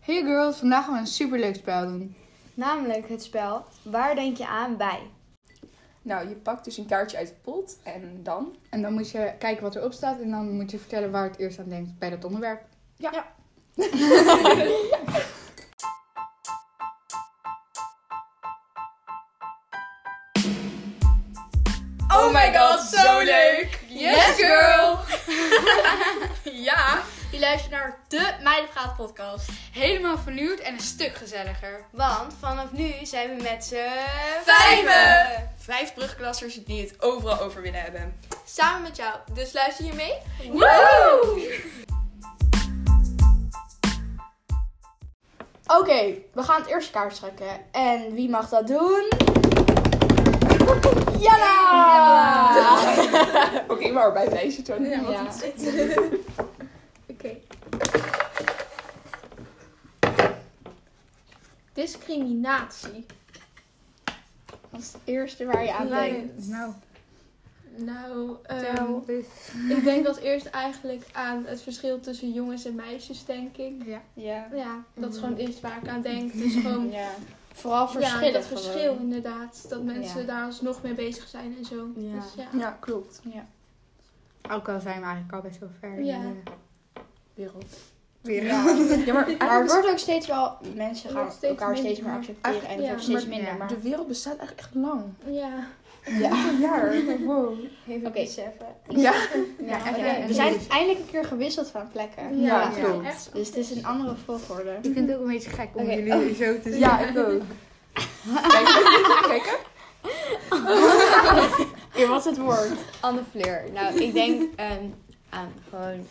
Hey girls, vandaag gaan we een superleuk spel doen. Namelijk het spel Waar denk je aan bij? Nou, je pakt dus een kaartje uit de pot en dan? En dan moet je kijken wat erop staat en dan moet je vertellen waar het eerst aan denkt bij dat onderwerp. Ja. Oh my god, zo leuk! Yes, girl! ja! Je luistert naar de Meidenpraat podcast. Helemaal vernieuwd en een stuk gezelliger. Want vanaf nu zijn we met z'n Vijven! Vijf brugklassers die het overal over willen hebben. Samen met jou, dus luister je mee? Oké, we gaan het eerste kaart trekken. En wie mag dat doen? Jana! Oké, maar bij deze toon ja. Ja. Discriminatie. Dat is het eerste waar je aan denkt. Nou, Nou, ehm, ik denk als eerst eigenlijk aan het verschil tussen jongens en meisjes, denk ik. Ja. Ja, dat is gewoon het eerste waar ik aan denk. Dus gewoon ja. Vooral ja, verschillen. dat gewoon. verschil inderdaad. Dat mensen Ja. daar alsnog mee bezig zijn en zo. Ja. Dus ja. ja, klopt. ook al zijn we eigenlijk al best wel ver. eh, in Ja. de Wereld. Wereld. Ja, maar, Maar het wordt ook steeds wel, mensen gaan Wordt steeds elkaar steeds minder. meer accepteren en het Ja. wordt steeds Maar- minder. ja. Maar de wereld bestaat eigenlijk echt lang. Ja. ja. Een jaar. Wow. Oké, Ja. Ja, Oké, even- we zijn eindelijk een keer gewisseld van plekken. Ja, ja, klopt. echt. Dus het is een andere volgorde. Ik vind het ook een beetje gek om Oké. jullie hier zo te zien. Ja, ik ook. Kijken. Kijken. Hier was het woord. Anne Fleur. Nou, ik denk ehm, aan gewoon,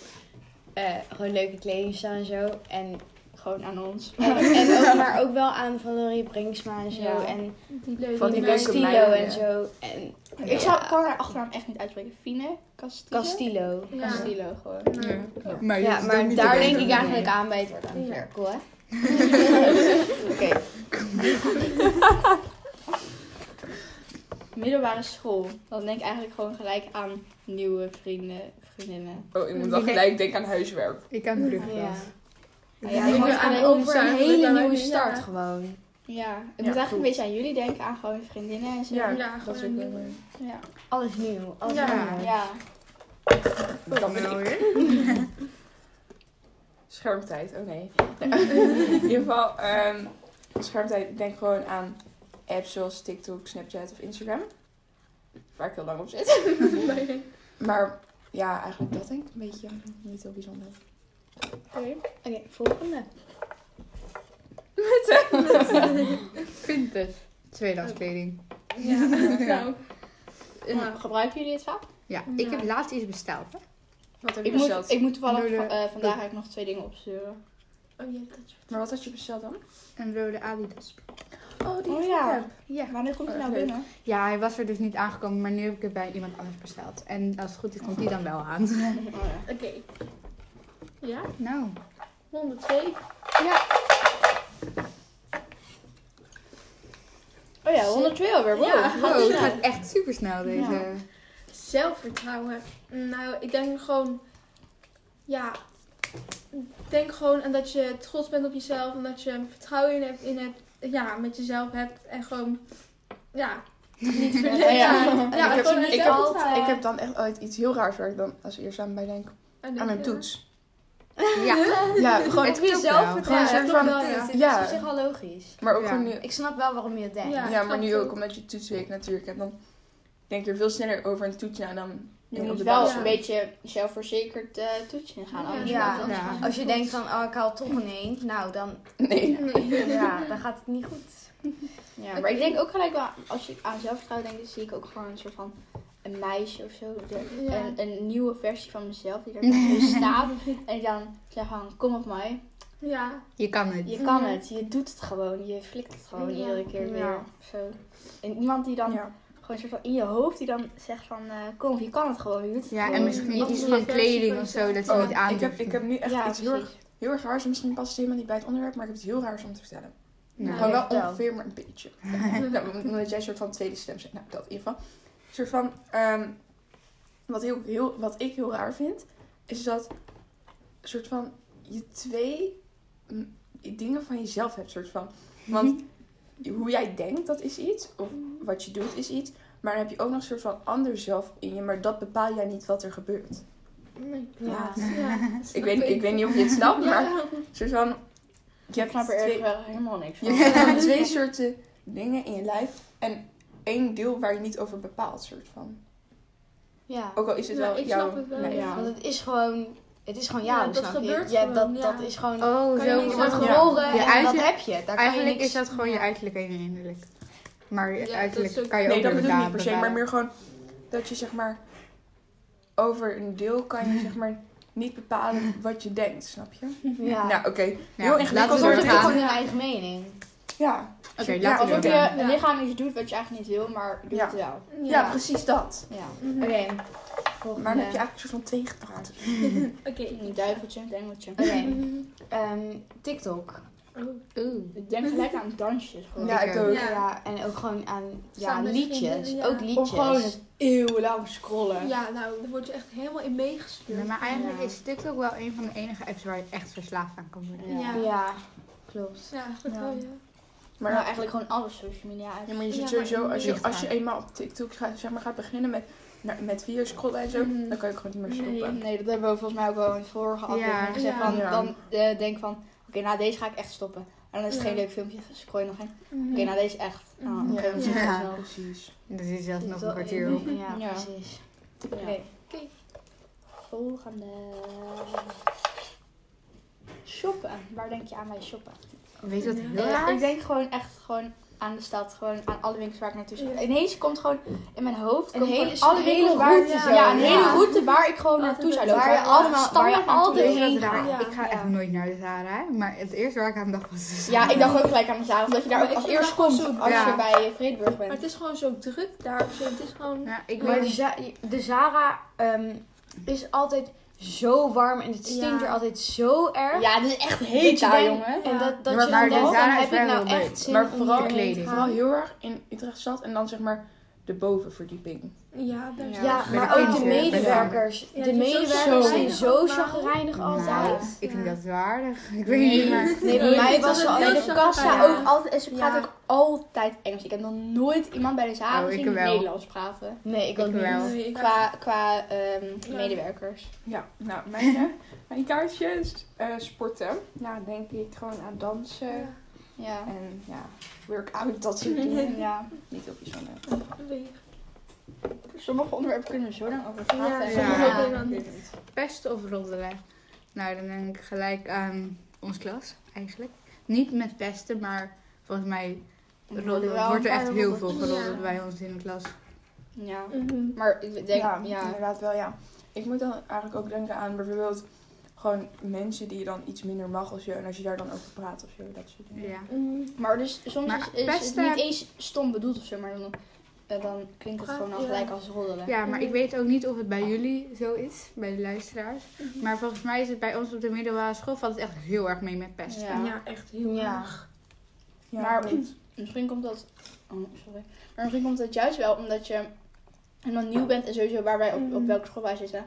eh, gewoon leuke kledingstijl en zo. En, Gewoon aan ons. en ook, maar ook wel aan Valerie Brinksma en zo. Ja. En Die leuke Van die meiden. leuke Castillo meiden, ja. en zo. En Ik zou, kan haar achternaam echt niet uitspreken. Fine Castillo. Castillo. Ja. Castillo gewoon. Ja. Maar, Ja, maar daar denk ik eigenlijk aan bij het woord aan Ja. Fleur. Cool, hè? Oké. Middelbare school. Dan denk ik eigenlijk gewoon gelijk aan nieuwe vrienden, vriendinnen. Oh, ik moet wel gelijk denken aan huiswerk. Ik aan de brugklas. Ja, Ja, gewoon gewoon aan aan de over een overzijde hele dat wij nieuwe nu- start ja. gewoon. Ja, ik moet Ja, eigenlijk goed. een beetje aan jullie denken, aan gewoon vriendinnen en zo. Ja, Ja, dat is gewoon ook een wel nieuwe. Ja. Alles nieuw. Alles Ja. anders. Ja. Dan ben ik. weer. Schermtijd, oh nee. In ieder geval, ehm, schermtijd, ik denk gewoon aan apps zoals TikTok, Snapchat of Instagram. Waar ik heel lang op zit. Maar ja, eigenlijk dat denk ik een beetje niet heel bijzonder. Oké, volgende. Nou, Vind het. Tweedehands kleding. Ja. Nou. Nou, Gebruiken jullie het vaak? Ja, Ja. ik heb laatst iets besteld. Hè? Wat heb je Ik moet, besteld? ik moet toevallig Door de- va- eh, vandaag eigenlijk nog twee dingen opsturen. Oh, je hebt dat Maar wat had je besteld dan? Een rode Adidas. Oh, die Oh, ik ja. heb. Wanneer komt hij nou binnen? Ja, hij was er dus niet aangekomen, maar nu heb ik het bij iemand anders besteld. En als het goed is, komt die dan wel aan. Oh, ja. Oké. Ja, Nou, 102. oh ja, 102 alweer. Wow. Ja. wow, het gaat echt super snel deze. Ja. Zelfvertrouwen. Nou, ik denk gewoon. Ja. Ik denk gewoon aan dat je trots bent op jezelf. En dat je vertrouwen in hebt. In hebt ja, met jezelf hebt. En gewoon. Ja. Niet verleden. ja. Ja, En ja, ik, heb, gewoon ik, heb, jezelf vertrouwen. ik heb dan echt ooit iets heel raars waar ik dan als eerst aan bij denk. En Aan een ja. toets. Ja. Ja, gewoon Het op klopt wel. jezelf. Ja, Gewoon zo het van- klopt wel, ja. Het Ja. is op zich wel logisch. Maar ook Ja. gewoon nu Ik snap wel waarom je het denkt. Ja, Ja, ik maar snap nu het. ook omdat je toetsweek natuurlijk hebt, dan denk je er veel sneller over een toets na dan Je dan op moet de wel basisschool. een beetje zelfverzekerd eh toetsen gaan. Anders Ja. wordt het- Ja. Als je denkt van, oh, ik haal toch een eend. Nou, dan, Nee. Nee. ja, dan gaat het niet goed. ja. Maar ik denk ook gelijk wel, als je aan zelfvertrouwen denkt, dan zie ik ook gewoon een soort van een meisje of zo. de- Ja. een, een nieuwe versie van mezelf die er zo staat. En dan zeg van, kom op mij. Ja. Je kan het. Je kan Ja. het, je doet het gewoon. Je flikt het gewoon Ja. iedere keer weer. Ja. Zo. En iemand die dan Ja. gewoon een soort van in je hoofd, die dan zegt van, eh, kom op, je kan het gewoon. Je doet het Ja, gewoon. en misschien Wat iets is van je kleding versie of zo dat ze Oh, niet aan ik, heb, ik heb nu echt Ja, iets heel erg, precies. heel erg raars. Misschien past het helemaal niet bij het onderwerp, maar ik heb het heel raars om te vertellen. Nou, Gewoon wel vertel. ongeveer, maar een beetje. nou, omdat jij een soort van tweede stem bent. Nou, dat in ieder geval. Een soort van... ehm, wat, heel, heel, wat ik heel raar vind, is dat... Een soort van... Je twee... mm, dingen van jezelf hebt, soort van. Want hoe jij denkt, dat is iets. Of wat je doet, is iets. Maar dan heb je ook nog een soort van ander zelf in je. Maar dat bepaal jij niet wat er gebeurt. Nee. Ja. Ja. Ik weet, ik weet niet of je het snapt, maar Ja. een soort van... Je hebt snap er twee- echt wel helemaal niks je van. hebt twee soorten dingen in je lijf. En één deel waar je niet over bepaalt, soort van. Ja. Ook al is het Ja, wel ik jouw... snap het wel, nee. ja. Want het is gewoon, het is gewoon jou, Ja, dat snap je? gebeurt ja, dat, gewoon, ja. dat is gewoon, Oh, Kan je zo. niks je wordt aan Ja. doen. geboren Je en uiterlijk- dat heb je. Daar kan je Eigenlijk niks... is dat gewoon je uiterlijk en je innerlijk. Maar je dat uiterlijk is ook- kan je Nee, ook dat bedoel ik inderdaad niet per se. Maar bepalen. meer gewoon dat je zeg maar over een deel kan je zeg maar niet bepalen wat je denkt, snap je? Ja. Nou, oké. Ja, Heel laten ingewikkeld we Soms heb je doorgaan. doorgaan. gewoon je eigen mening. Ja. Oké, laten we alsof Alsof doorgaan. je lichaam iets doet wat je eigenlijk niet wil, maar doet Ja. het wel. Ja, precies dat. Ja. Mhm. Oké. Maar dan Volgende. heb je eigenlijk een soort van twee gepraat. Oké. Een duiveltje, een engeltje. Oké. Ehm, TikTok. Oeh. Ik denk gelijk aan dansjes gewoon. Ja, ik Oké. ook. Ja. Ja, en ook gewoon aan ja, Samen met liedjes. vriendinnen, ja. Ook Of gewoon liedjes. het eeuwenlang scrollen. Ja, nou, daar word je echt helemaal in Nee, meegesleurd. maar eigenlijk Ja. is TikTok wel een van de enige apps waar je echt verslaafd aan kan worden. Ja. Ja. Ja, klopt. Ja, eigenlijk wel, ja. Maar, nou, eigenlijk gewoon alle social media uit. ja, maar je zit Ja, sowieso, maar- als je, Ligt als je aan. eenmaal op TikTok gaat, zeg maar, gaat beginnen met, naar- met video's scrollen en zo, Mhm. dan kan je ook gewoon niet meer stoppen. Nee, dat hebben we volgens mij ook al in het vorige aflevering Ja. gezegd. Ja. Van, Ja. Dan eh, denk ik van, oké, na deze ga ik echt stoppen. En dan is het Ja. geen leuk filmpje, dus dan scroll je nog heen. Mhm. Oké, na deze echt. Ah, Mhm. oké, dan zie ik Ja. het wel. Precies. Er zit zelfs nog een Wel kwartier in- op. Ja, Ja. precies. Ja. Oké. Volgende. Shoppen. Waar denk je aan bij shoppen? Weet je wat heel Eh, raar ik is? denk gewoon echt gewoon aan de stad, gewoon aan alle winkels waar ik naartoe Ja. ga. Ineens komt gewoon in mijn hoofd Een komt hele- gewoon alle een winkels hele waar route ja, zo. ja, een Ja. hele route waar ik gewoon Altijd naartoe zou met- lopen. waar je allemaal- standaard waar je naartoe altijd wil. Weet je wat heen raar is? gaan. Ik ga Ja. echt nooit naar de Zara, maar het eerste waar ik aan dacht was de Zara. Ja, ik dacht ook gelijk aan de zaal, omdat je daar Maar ook ik als vind dat eerst gewoon komt zo- als Ja. je bij Vredeburg Maar bent. het is gewoon zo druk daar of zo. Het is gewoon... Ja, ik Maar weet de, niet. Za- de Zara ehm, is altijd zo warm en het stinkt Ja. er altijd zo erg. Ja, het is echt Dat heet je daar, denkt- jongen. En dat, dat Maar- je maar de denkt, van, Zara is heb ik wel nou heel leuk. echt zin Maar om vooral- hierheen te Kleding. gaan? Vooral heel erg in Utrecht stad en dan zeg maar de bovenverdieping. Ja, daar Ja, zijn Bij de maar ook de kinderen, bij de medewerkers. Ja, de die zijn zo medewerkers zijn chagrijnig zo allemaal. chagrijnig Nou, altijd. ik vind Ja. dat waardig. Ik weet niet, maar... Nee, bij Nee, mij het was was ze een altijd... heel Bij de kassa Ja. ook altijd. En ze Ja. praat ook altijd Engels. Ik heb nog nooit iemand bij de zaal Oh, ik gezien die wel. Nederlands praten. Nee, ik ook Ik niet. wel. Nee, ik- Qua, qua ehm, Ja. medewerkers. Ja, nou, mijn, eh, mijn kaartje is eh, sporten. Nou, denk ik gewoon aan dansen Ja, Ja. en ja, workout, dat soort dingen. ja. Niet op bijzonder. bewegen. Sommige onderwerpen kunnen we zo lang over praten. Ja. Ja. sommige dingen. Dit niet. Pesten of roddelen? Nou, dan denk ik gelijk aan ons klas, eigenlijk. Niet met pesten, maar volgens mij roddelen. Wel Er wordt er een echt paar heel veel roddels. geroddeld Ja. bij ons in de klas. Ja. Mhm. Maar ik denk, ja, ja. inderdaad wel, ja. Ik moet dan eigenlijk ook denken aan bijvoorbeeld gewoon mensen die je dan iets minder mag of zo. En als je daar dan over praat of zo, dat soort dingen. Ja. Mhm. Maar dus soms Maar is, is pesten- het niet eens stom bedoeld of zo, maar dan, eh, dan klinkt het gewoon al Ja. gelijk als roddelen. Ja, maar ik weet ook niet of het bij jullie zo is, bij de luisteraars. Maar volgens mij is het bij ons op de middelbare school valt het echt heel erg mee met pesten. Ja. Ja, echt heel Ja. erg. Ja, Maar- klopt. Misschien komt dat. Oh, sorry. Maar misschien komt dat juist wel omdat je helemaal nieuw bent en sowieso waar wij op, op Mhm. welke school wij zitten.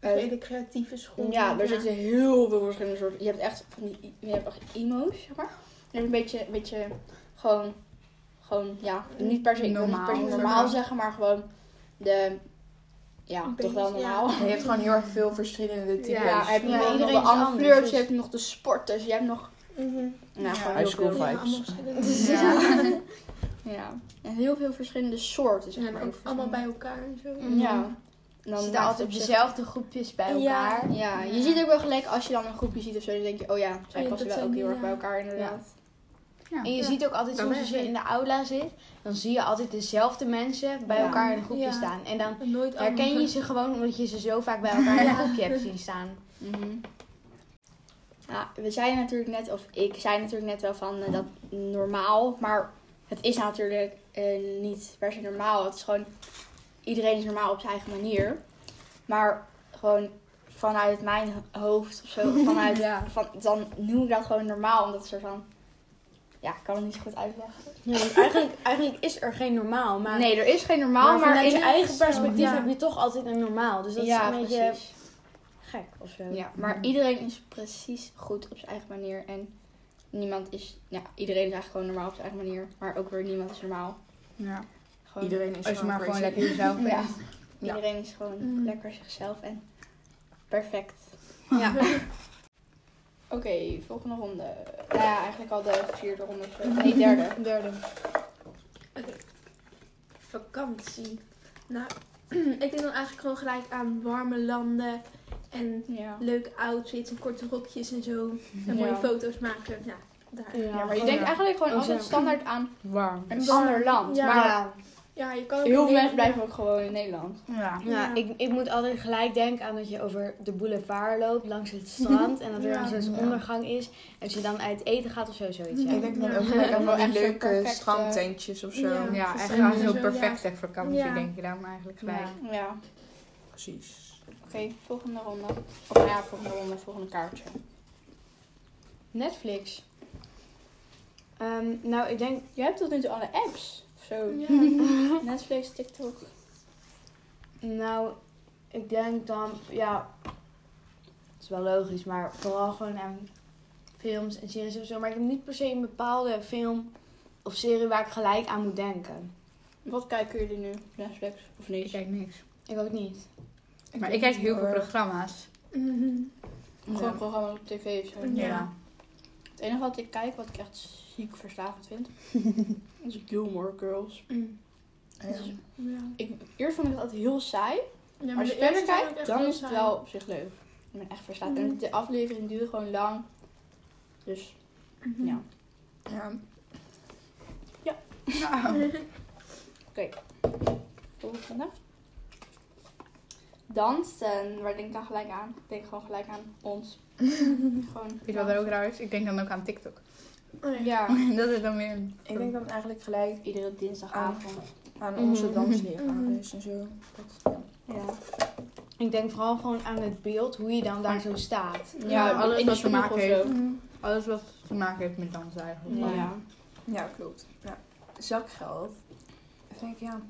Een Eh, hele creatieve school. ja, daar zitten heel veel verschillende soorten. Je hebt echt van die, je hebt echt emo's, zeg maar. Je hebt een beetje, een beetje gewoon, gewoon, ja, niet per se, ik wil niet per se Normaal. normaal zeggen, maar gewoon de, ja, Een toch wel beetje, ja. normaal. En je hebt gewoon heel erg veel verschillende types. Ja, Ja, heb je Ja, hebt nog iedereen de is andere anders, flirts, dus- je hebt nog de sporters, je hebt nog, Mhm. nou, Ja, gewoon high heel school veel. Ja, vibes. allemaal verschillende. Ja. Ja, en heel veel verschillende soorten, zeg En maar. ook allemaal bij elkaar en zo. Ja. Ze Dan zitten altijd op dezelfde groepjes bij Ja. elkaar. Ja, je ziet ook wel gelijk als je dan een groepje ziet of zo, dan denk je, oh ja, zij Ja, passen dat wel zijn ook die, heel erg ja. bij elkaar inderdaad. Ja. En je ziet ook altijd Dat soms ben als ik. je in de aula zit, dan zie je altijd dezelfde mensen bij Ja. elkaar in een groepje Ja. staan. En dan En Nooit herken je andere. ze gewoon omdat je ze zo vaak bij elkaar in een groepje hebt zien staan. Ja. Mhm. we zeiden natuurlijk net, of ik zei natuurlijk net wel van eh, dat normaal, maar het is natuurlijk eh, niet per se normaal. Het is gewoon, iedereen is normaal op zijn eigen manier. Maar gewoon vanuit mijn hoofd of zo, vanuit, van, dan noem ik dat gewoon normaal, omdat het soort van, ja, ik kan het niet zo goed uitleggen. Ja, want eigenlijk, eigenlijk is er geen normaal, maar, nee, er is geen maar, normaal, maar, vanuit in je eigen perspectief ja. heb je toch altijd een normaal. Dus dat ja, is een beetje precies. gek of zo. Ehm, Ja, maar iedereen is precies goed op zijn eigen manier. En niemand is, ja, iedereen is eigenlijk gewoon normaal op zijn eigen manier. Maar ook weer niemand is normaal. Ja. Gewoon, Iedereen is Als je maar gewoon crazy. lekker jezelf bent. Ja. Ja. Iedereen is gewoon Mm. lekker zichzelf en perfect. Ja. Oké, volgende ronde. Nou ja, eigenlijk al de vierde ronde. of zo. Nee, derde. Derde. Vakantie. Nou, ik denk dan eigenlijk gewoon gelijk aan warme landen. En Ja. leuke outfits en korte rokjes en zo. En mooie Ja. foto's maken. Ja, daar. Ja, maar je denkt eigenlijk gewoon Oh, altijd zo. standaard aan Warm. een ander land. Ja. Maar Ja, je kan ook heel in veel mensen Nederland- blijven ook gewoon in Nederland. Ja. Ja. Ja, ik, ik moet altijd gelijk denken aan dat je over de boulevard loopt langs het strand en dat er Ja. een soort Ja. ondergang is. En als je dan uit eten gaat of zo, zoiets. Ja. Ik denk dan Ja. ook gelijk aan Wel van echt die zo'n leuke perfecte- strandtentjes of zo. Ja. Ja, echt Ja. aan zo'n Ja. perfecte vakantie Ja. denk je dan eigenlijk gelijk. Ja. Ja. Precies. Oké, volgende ronde. Of nou ja, volgende ronde, volgende kaartje. Netflix. Ehm, nou, ik denk Je hebt tot nu toe alle apps. Of zo. Ja. Netflix, TikTok. Nou, ik denk dan, ja, het is wel logisch, maar vooral gewoon aan films en series of zo. Maar ik heb niet per se een bepaalde film of serie waar ik gelijk aan moet denken. Wat kijken jullie nu? Netflix Ik of niet? kijk niks. Ik ook niet. Maar ik kijk heel veel erg. programma's. Mhm. Gewoon Ja. programma's op tv of zo. Ja. Het enige wat ik kijk, wat ik echt ziek verslavend vind, is Gilmore Girls. Mm. Dat is- Ja. Ik, eerst vond ik dat heel saai. Ja, maar maar als je de eerste verder zijn ook kijkt, echt dan heel is het saai. wel op zich leuk. Ik ben echt verslaafd. En Mm. de aflevering duurde gewoon lang. Dus Mhm. ja. Ja. Volgende. Dansen, waar denk ik dan gelijk aan? Ik denk gewoon gelijk aan ons. gewoon. Weet je wat er ook raar is? Ik denk dan ook aan TikTok. Oh, ja. Ja, dat is dan weer... een- Ik denk dan eigenlijk gelijk iedere dinsdagavond. Ah. aan onze Mhm. dansleraren en zo. Dat, Ja, Ik denk vooral gewoon aan het beeld, hoe je dan daar zo staat. ja, Ja, alles in de wat te kroeg maken of zo. heeft. Alles wat te maken heeft met dansen eigenlijk. Ja. ja, klopt. Ja. Zakgeld. Ik denk ja.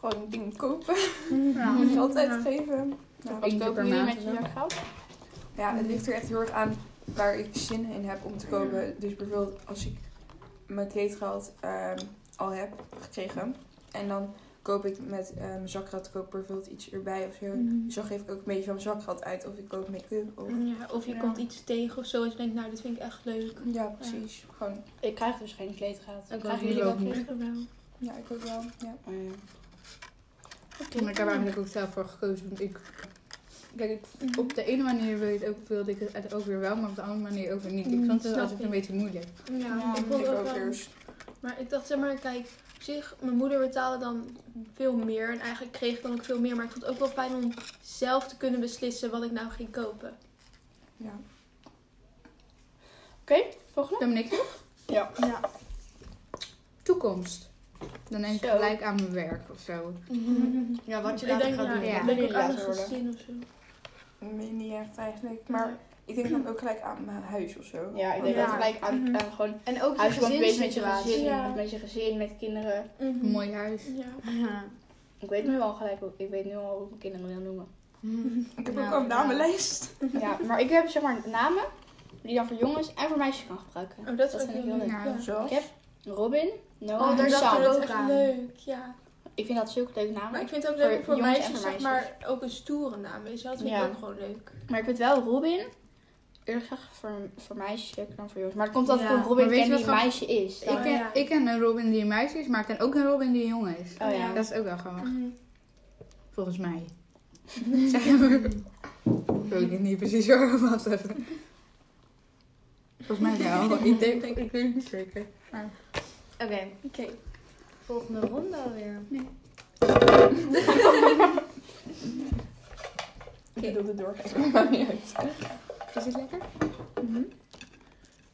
Gewoon een ding kopen. Ja. Moet je altijd Mhm. Ja. geven. Ja, Wat Eentje kopen per jullie maand met of je zakgeld? Ja, het ligt er echt heel erg aan waar ik zin in heb om te kopen. Dus bijvoorbeeld als ik mijn kleedgeld ehm, al heb gekregen. En dan koop ik met ehm, mijn zakgeld koop ik bijvoorbeeld iets erbij of zo. Mhm. Dus dan geef ik ook een beetje van mijn zakgeld uit of ik koop make-up. Of... Ja, of je Ja. komt iets tegen of zo en je denkt, nou, dit vind ik echt leuk. Ja, precies. Gewoon, Ik krijg dus geen kleedgeld. Ik Krijgen ook jullie dat niet. niet? Ik wel. ja, ik ook wel. Ja. Oh, ja. Maar ik heb eigenlijk ook zelf voor gekozen. Want ik, kijk, ik- op de ene manier wil ik het ook, wilde ik het ook weer wel, maar op de andere manier ook weer niet. Ik Mm, vond het snap altijd ik. een beetje moeilijk. Ja, Ja, ik vond Ik het ook ook wel. eerst. Maar ik dacht, zeg maar, kijk, op zich, mijn moeder betaalde dan veel meer. En eigenlijk kreeg ik dan ook veel meer. Maar ik vond het ook wel fijn om zelf te kunnen beslissen wat ik nou ging kopen. Ja. Volgende? Dominique nog? Ja. Ja. Toekomst. Dan denk ik Zo. gelijk aan mijn werk of zo. Ja, wat je Mhm. ik later denk, gaat ja, doen. Ja. Ik denk ook Jullie aan een laten worden. gezin of zo. Nee, niet echt eigenlijk. Maar ik denk dan ook gelijk aan mijn huis of zo. Ja, ik denk Ja. dat gelijk aan, Mhm. aan gewoon En ook je huiswoon bezig met je gezinssituatie. gezin, Ja. met je gezin, met kinderen. Een mooi huis. Mhm. Ja. Ja. Ik weet nu al gelijk, hoe- ik weet nu al hoe ik kinderen wil noemen. Ik heb Nou, ook al een ja. namenlijst. Mhm. Ja, maar ik heb zeg maar namen die dan voor jongens en voor meisjes kan gebruiken. Oh, dat, Dat is ook vind ik heel heel leuk. leuk. Ja. Zoals? Ik heb- Robin, Noah Oh, en daar dacht Sam. ik Dat is ook echt aan. leuk, ja. Ik vind dat zulke leuke Maar namen. ik vind het ook Voor leuk om voor jongens en meisjes, voor zeg maar, ook een stoere naam. Weet je wel, dat vind ik Ja. ook gewoon leuk. Maar ik vind wel Robin eerlijk gezegd voor, voor meisjes leuker dan voor jongens. Maar het komt dat Ja. ik een Robin Maar weet ken je die een wat meisje is. Ik Dan- ken, ja. ik ken een Robin die een meisje is, maar ik ken ook een Robin die een jongen is. Oh ja. Dat is ook wel grappig, Mhm. volgens mij. Zeg maar. Ik weet het niet precies hoor, wacht even. Volgens mij wel. Ik denk, ik weet het niet zeker. Oké, Oké. volgende ronde alweer. Ik doe het door. Ik maakt niet uit. Is het lekker?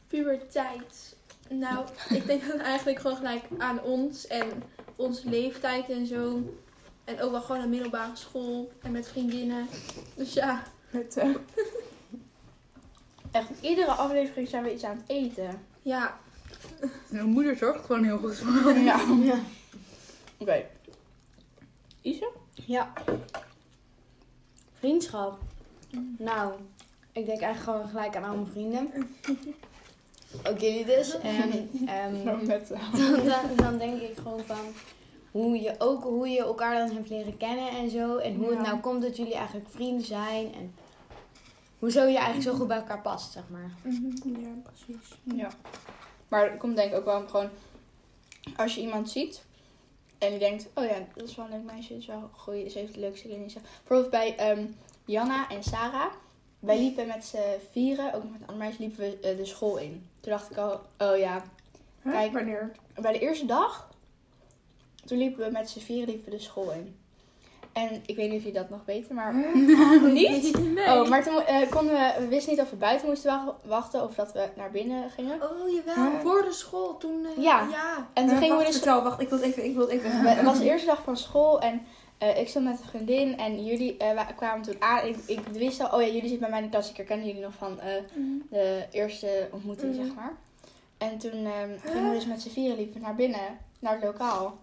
Puberteit. Nou, ik denk dan eigenlijk gewoon gelijk aan ons en onze leeftijd en zo. En ook wel gewoon aan middelbare school en met vriendinnen. Dus ja, Met, eh, Echt, iedere aflevering zijn we iets aan het eten. ja. Mijn moeder zorgt gewoon heel goed voor me. Ja. Ja. Oké. Isa? Ja. Vriendschap. Nou, ik denk eigenlijk gewoon gelijk aan al mijn vrienden. ook jullie dus. En ehm, Nou, net zo. dan, dan, dan denk ik gewoon van hoe je ook hoe je elkaar dan hebt leren kennen en zo. En hoe het nou komt dat jullie eigenlijk vrienden zijn. En hoezo je eigenlijk zo goed bij elkaar past, zeg maar. Ja, precies. Ja. Maar het komt denk ik ook wel gewoon... Als je iemand ziet en je denkt... Oh ja, dat is wel een leuk meisje. Dat is wel goed. Ze heeft het leukste dingen. in zich." Bijvoorbeeld bij ehm, Janna en Sarah. Wij liepen met z'n vieren, ook nog met een ander meisje, liepen we eh, de school in. Toen dacht ik al, oh ja. Kijk. Kijk, wanneer? Bij de eerste dag, toen liepen we met z'n vieren liepen we de school in. En ik weet niet of je dat nog weet, maar niet. Nee. Oh, maar toen eh, konden we, we wisten niet of we buiten moesten wa- wachten of dat we naar binnen gingen. Oh, jawel. Huh? Voor de school toen. eh, Ja. ja. En toen Eh, gingen we wacht, dus. Vertel, wacht, ik wil het even, ik wil het even. we- Het was de eerste dag van school en eh, ik stond met een vriendin en jullie eh, wa- kwamen toen aan. Ik, ik wist al, oh ja, jullie zitten bij mij in de klas. Ik herkende jullie nog van eh, de eerste ontmoeting, Mhm. zeg maar. En toen ehm, gingen we dus met z'n vieren liepen naar binnen, naar het lokaal.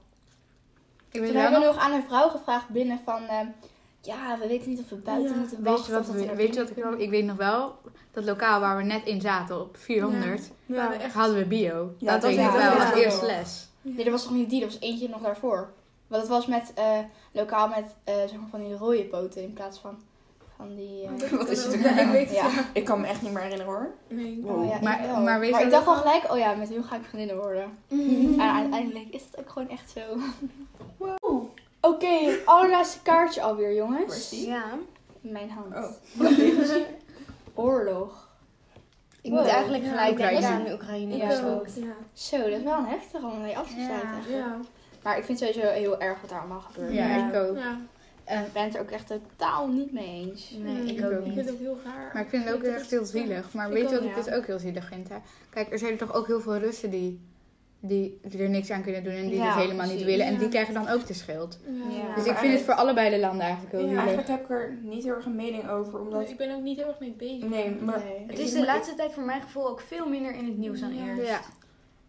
Ik Toen weet wel hebben we nog. nog aan een vrouw gevraagd binnen van... ehm, ja, we weten niet of we buiten Ja. moeten Weet je wachten. wat, of dat we we- naar weet je wat binnen ik wel? Ik weet nog wel, dat lokaal waar we net in zaten op 400, We hadden echt- hadden we bio. Ja, dat dat weet ik weet nog ik wel, nog als wel. eerste les. kunnen. Nee, dat was toch niet die, dat was eentje nog daarvoor. Want het was met eh, lokaal met eh, zeg maar van die rode poten in plaats van, van die... Oh, eh, Wat is het? Ja, ik weet het. ja. Ik kan me echt niet meer herinneren hoor. Nee. Oh, ja, ik Maar- wel. maar weet je ik wat dacht wel gelijk, oh ja, met hun ga ik vriendinnen worden. Mm, En uiteindelijk is het ook gewoon echt zo. Oké, allerlaatste kaartje alweer, jongens. Ja. In mijn hand. Oh. Oorlog. Ik Wow. moet eigenlijk gelijk denken Oekraïne. aan Oekraïne. Ja. dus Zo. ook. Ja. Zo, dat is wel een heftig om mee af te sluiten. Ja. eigenlijk. Ja. Maar ik vind sowieso heel erg wat daar allemaal gebeurt. Ja, ik ook. Ja. En ik ben het er ook echt totaal niet mee eens. Nee, ik Ik ook ook. Mm. Ik vind niet. het ook heel raar. Maar ik vind het ook Ja. echt heel zielig. Maar Ik weet je ook, wat ik ja. dus ook heel zielig vind? Hè? Kijk, er zijn er toch ook heel veel Russen die, die er niks aan kunnen doen en die Ja, dit helemaal niet precies. willen. En Ja. die krijgen dan ook de schuld. Ja. Dus maar ik vind het eigenlijk- voor allebei de landen eigenlijk heel Ja. zielig. Eigenlijk heb ik er niet heel erg een mening over, Nee, omdat... Ik ben ook niet heel erg mee bezig. Nee, maar... Nee. Het is de laatste tijd voor mijn gevoel ook veel minder in het nieuws dan Ja. eerst. Ja.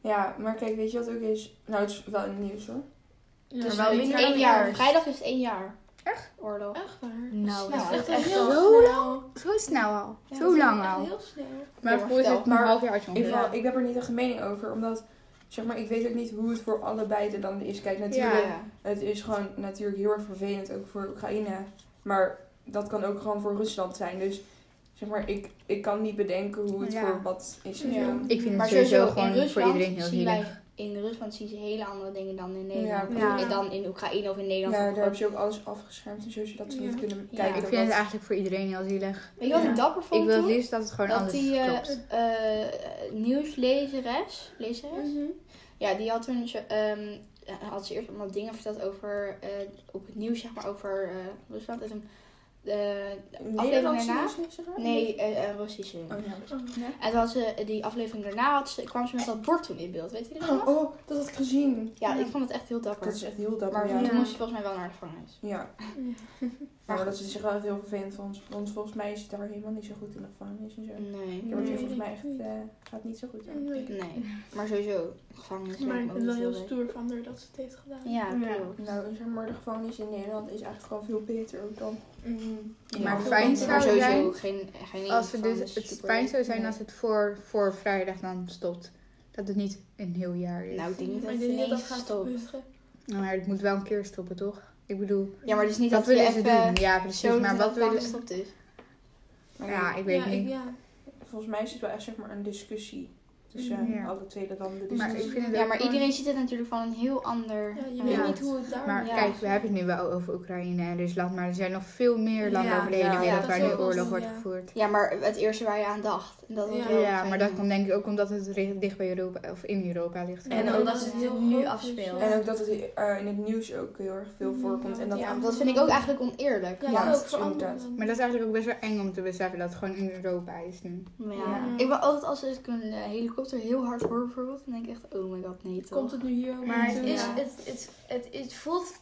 Ja, maar kijk, weet je wat ook is? Nou, het is wel in het nieuws hoor. Ja. Dus maar wel ik- minder- Eén Ja. jaar. Vrijdag is het één jaar. Echt? Oorlog. Echt waar. Nou, Ja. dat is echt echt echt heel wel- Hoe snel. Zo snel nou al. Ja, dat Zo is lang echt al. Heel snel. Maar Ja, voor is het vertel. maar Maar een half jaar Ik, ongeveer. wel, ik heb er niet echt een mening over, omdat... Zeg maar, ik weet ook niet hoe het voor allebei de landen is. Kijk, natuurlijk, Ja. het is gewoon natuurlijk heel erg vervelend, ook voor Oekraïne. Maar dat kan ook gewoon voor Rusland zijn. Dus, zeg maar, ik, ik kan niet bedenken hoe het Ja. voor wat is. en Ja. zo. Ik vind Maar het sowieso sowieso in gewoon voor Rusland iedereen heel zien zielig. wij... In Rusland zien ze hele andere dingen dan in Ja, Nederland. Ja. En dan in Oekraïne of in Nederland. Ja, Of daar hebben gewoon- ze ook alles afgeschermd en zo, zodat ze Ja. niet kunnen Ja. kijken. Ik Ik vind het dat- eigenlijk voor iedereen heel zielig. Weet je wat Ja. ik dapper vond Ik wil het toen? liefst dat het gewoon dat alles die eh, klopt. eh, nieuwslezeres, Mm. lezeres, ja, die had toen zo- ehm, ja, had ze eerst allemaal dingen verteld over eh, op het nieuws, zeg maar, over eh, Rusland. En toen, eh, Nederlandse daarna? nieuws is er wel? nee, eh, eh, Russische. Oh, ja. En toen had ze eh, die aflevering daarna had ze, kwam ze met dat bord toen in beeld, weet je dat nog? Oh, oh, dat had ik gezien. Ja, ik vond het echt heel dapper. Dat is echt heel dapper, maar ja. toen moest ze volgens mij wel naar de gevangenis. Ja. Maar dat is zich wel echt heel vervelend voor ons. Want volgens mij is het daar helemaal niet zo goed in de gevangenis en zo. Mm. Nee. Daar wordt je Nee, volgens mij echt, niet. eh, gaat niet zo goed aan. Nee. Nee. Maar sowieso, gevangenis Maar ik vind lijkt me het wel ook niet heel leuk. stoer van haar dat ze het heeft gedaan. Ja, Ja. klopt. Nou, zeg maar, de gevangenis in Nederland is eigenlijk gewoon veel beter ook dan. Mhm. Maar Ja. fijn zou Maar het sowieso zijn geen, geen als we gevangenis dus, het super- fijn zou zijn Nee. als het voor, voor vrijdag dan stopt. Dat het niet een heel jaar is. Nou, ik denk niet Maar dat ik het denk niet dat dat ineens gaat stopt. gebeuren. Nou ja, het moet wel een keer stoppen, toch? Ik bedoel, Ja, maar dus- het is niet wat dat je willen ze doen? even Ja, precies. zo Maar wat willen ze... gestopt is. Maar Ja, ik weet ja, niet. Ik, ja. Volgens mij is het wel echt zeg maar, een discussie tussen Ja. alle twee de landen. Dus Maar het is- ik vind het Ja, ook maar gewoon- iedereen ziet het natuurlijk van een heel ander... ja, je Ja. weet Ja. niet hoe het daar Maar Ja. kijk, we hebben het nu wel over Oekraïne en Rusland, maar er zijn nog veel meer landen Ja, over de hele ja, wereld dat waar is nu ook wel oorlog zo, wordt ja. gevoerd. Ja, maar het eerste waar je aan dacht. En dat het Ja. wel Ja, maar dat fijn komt denk ik ook omdat het re- dicht bij Europa of in Europa ligt. Ja. En omdat het heel nu afspeelt. En ook dat het eh, in het nieuws ook heel erg veel voorkomt. En dat Oh. is. Ja. Ja, want dat vind ik ook eigenlijk oneerlijk. Ja, Ja, ook dat is voor inderdaad. anderen. Maar dat is eigenlijk ook best wel eng om te beseffen dat het gewoon in Europa is nu. Maar ja. Ja. Ik wil altijd als ik een eh, helikopter heel hard hoor bijvoorbeeld, dan denk ik echt, oh my god, nee toch. Komt het nu hier ook Maar het, naartoe? is, Ja. het, het, het, het voelt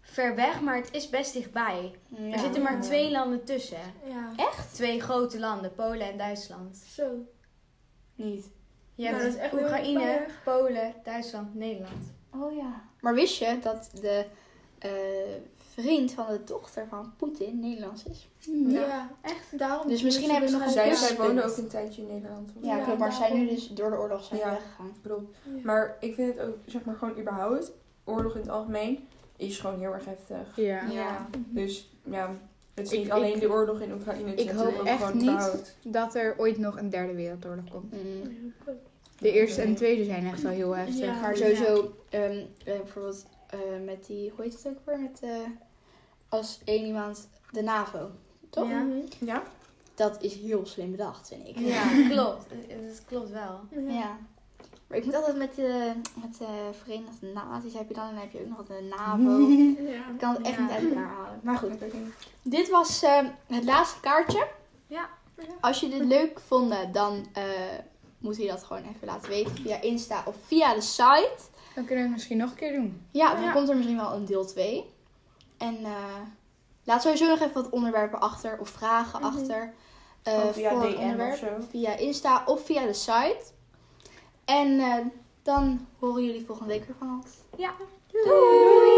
ver weg, maar het is best dichtbij. Ja. Er zitten maar twee landen tussen. Ja. Twee grote landen, Polen en Duitsland. Zo. Niet. Je Nou, hebt dat is echt heel Oekraïne, ver. Polen, Duitsland, Nederland. Oh ja. Maar wist je dat de eh, vriend van de dochter van Poetin Nederlands is. Ja, echt. Daarom Dus misschien hebben ze nog een Zij, Ja, zij punt. woonde ook een tijdje in Nederland. volgens Ja, Ja, mij. klopt. Maar zij nu daarom. dus door de oorlog zijn Ja. weggegaan. Klopt. Ja. Maar ik vind het ook, zeg maar, gewoon überhaupt, oorlog in het algemeen, is gewoon heel erg heftig. Ja. Ja. Dus ja, het is Ik- niet alleen ik- de oorlog in Oekraïne, het is ik hoop natuurlijk ook echt gewoon niet. überhaupt. Dat er ooit nog een derde wereldoorlog komt. Mm. De eerste en Nee. tweede zijn echt wel heel heftig. Ja. Maar sowieso, ehm, eh, bijvoorbeeld eh, met die, hoe heet het ook weer? Met, eh, als één iemand, de NAVO, toch? Ja. Ja? Dat is heel slim bedacht, vind ik. Ja, klopt. Eh, Dat klopt wel. Ja. Maar ik moet altijd met de met de Verenigde Naties heb je dan en dan heb je ook nog de NAVO. Ja. Ik kan het echt Ja. niet uit elkaar halen. Maar goed. Dit was ehm, het laatste kaartje. Ja. Als jullie dit leuk vonden, dan eh moet je dat gewoon even laten weten via Insta of via de site. Dan kunnen we het misschien nog een keer doen. Ja, dan Ja. komt er misschien wel een deel 2. En eh, laat sowieso nog even wat onderwerpen achter of vragen Mhm. achter. eh, Of via voor het DM onderwerp. of zo. Via Insta of via de site. En eh, dan horen jullie volgende week weer van ons. Ja. Doei.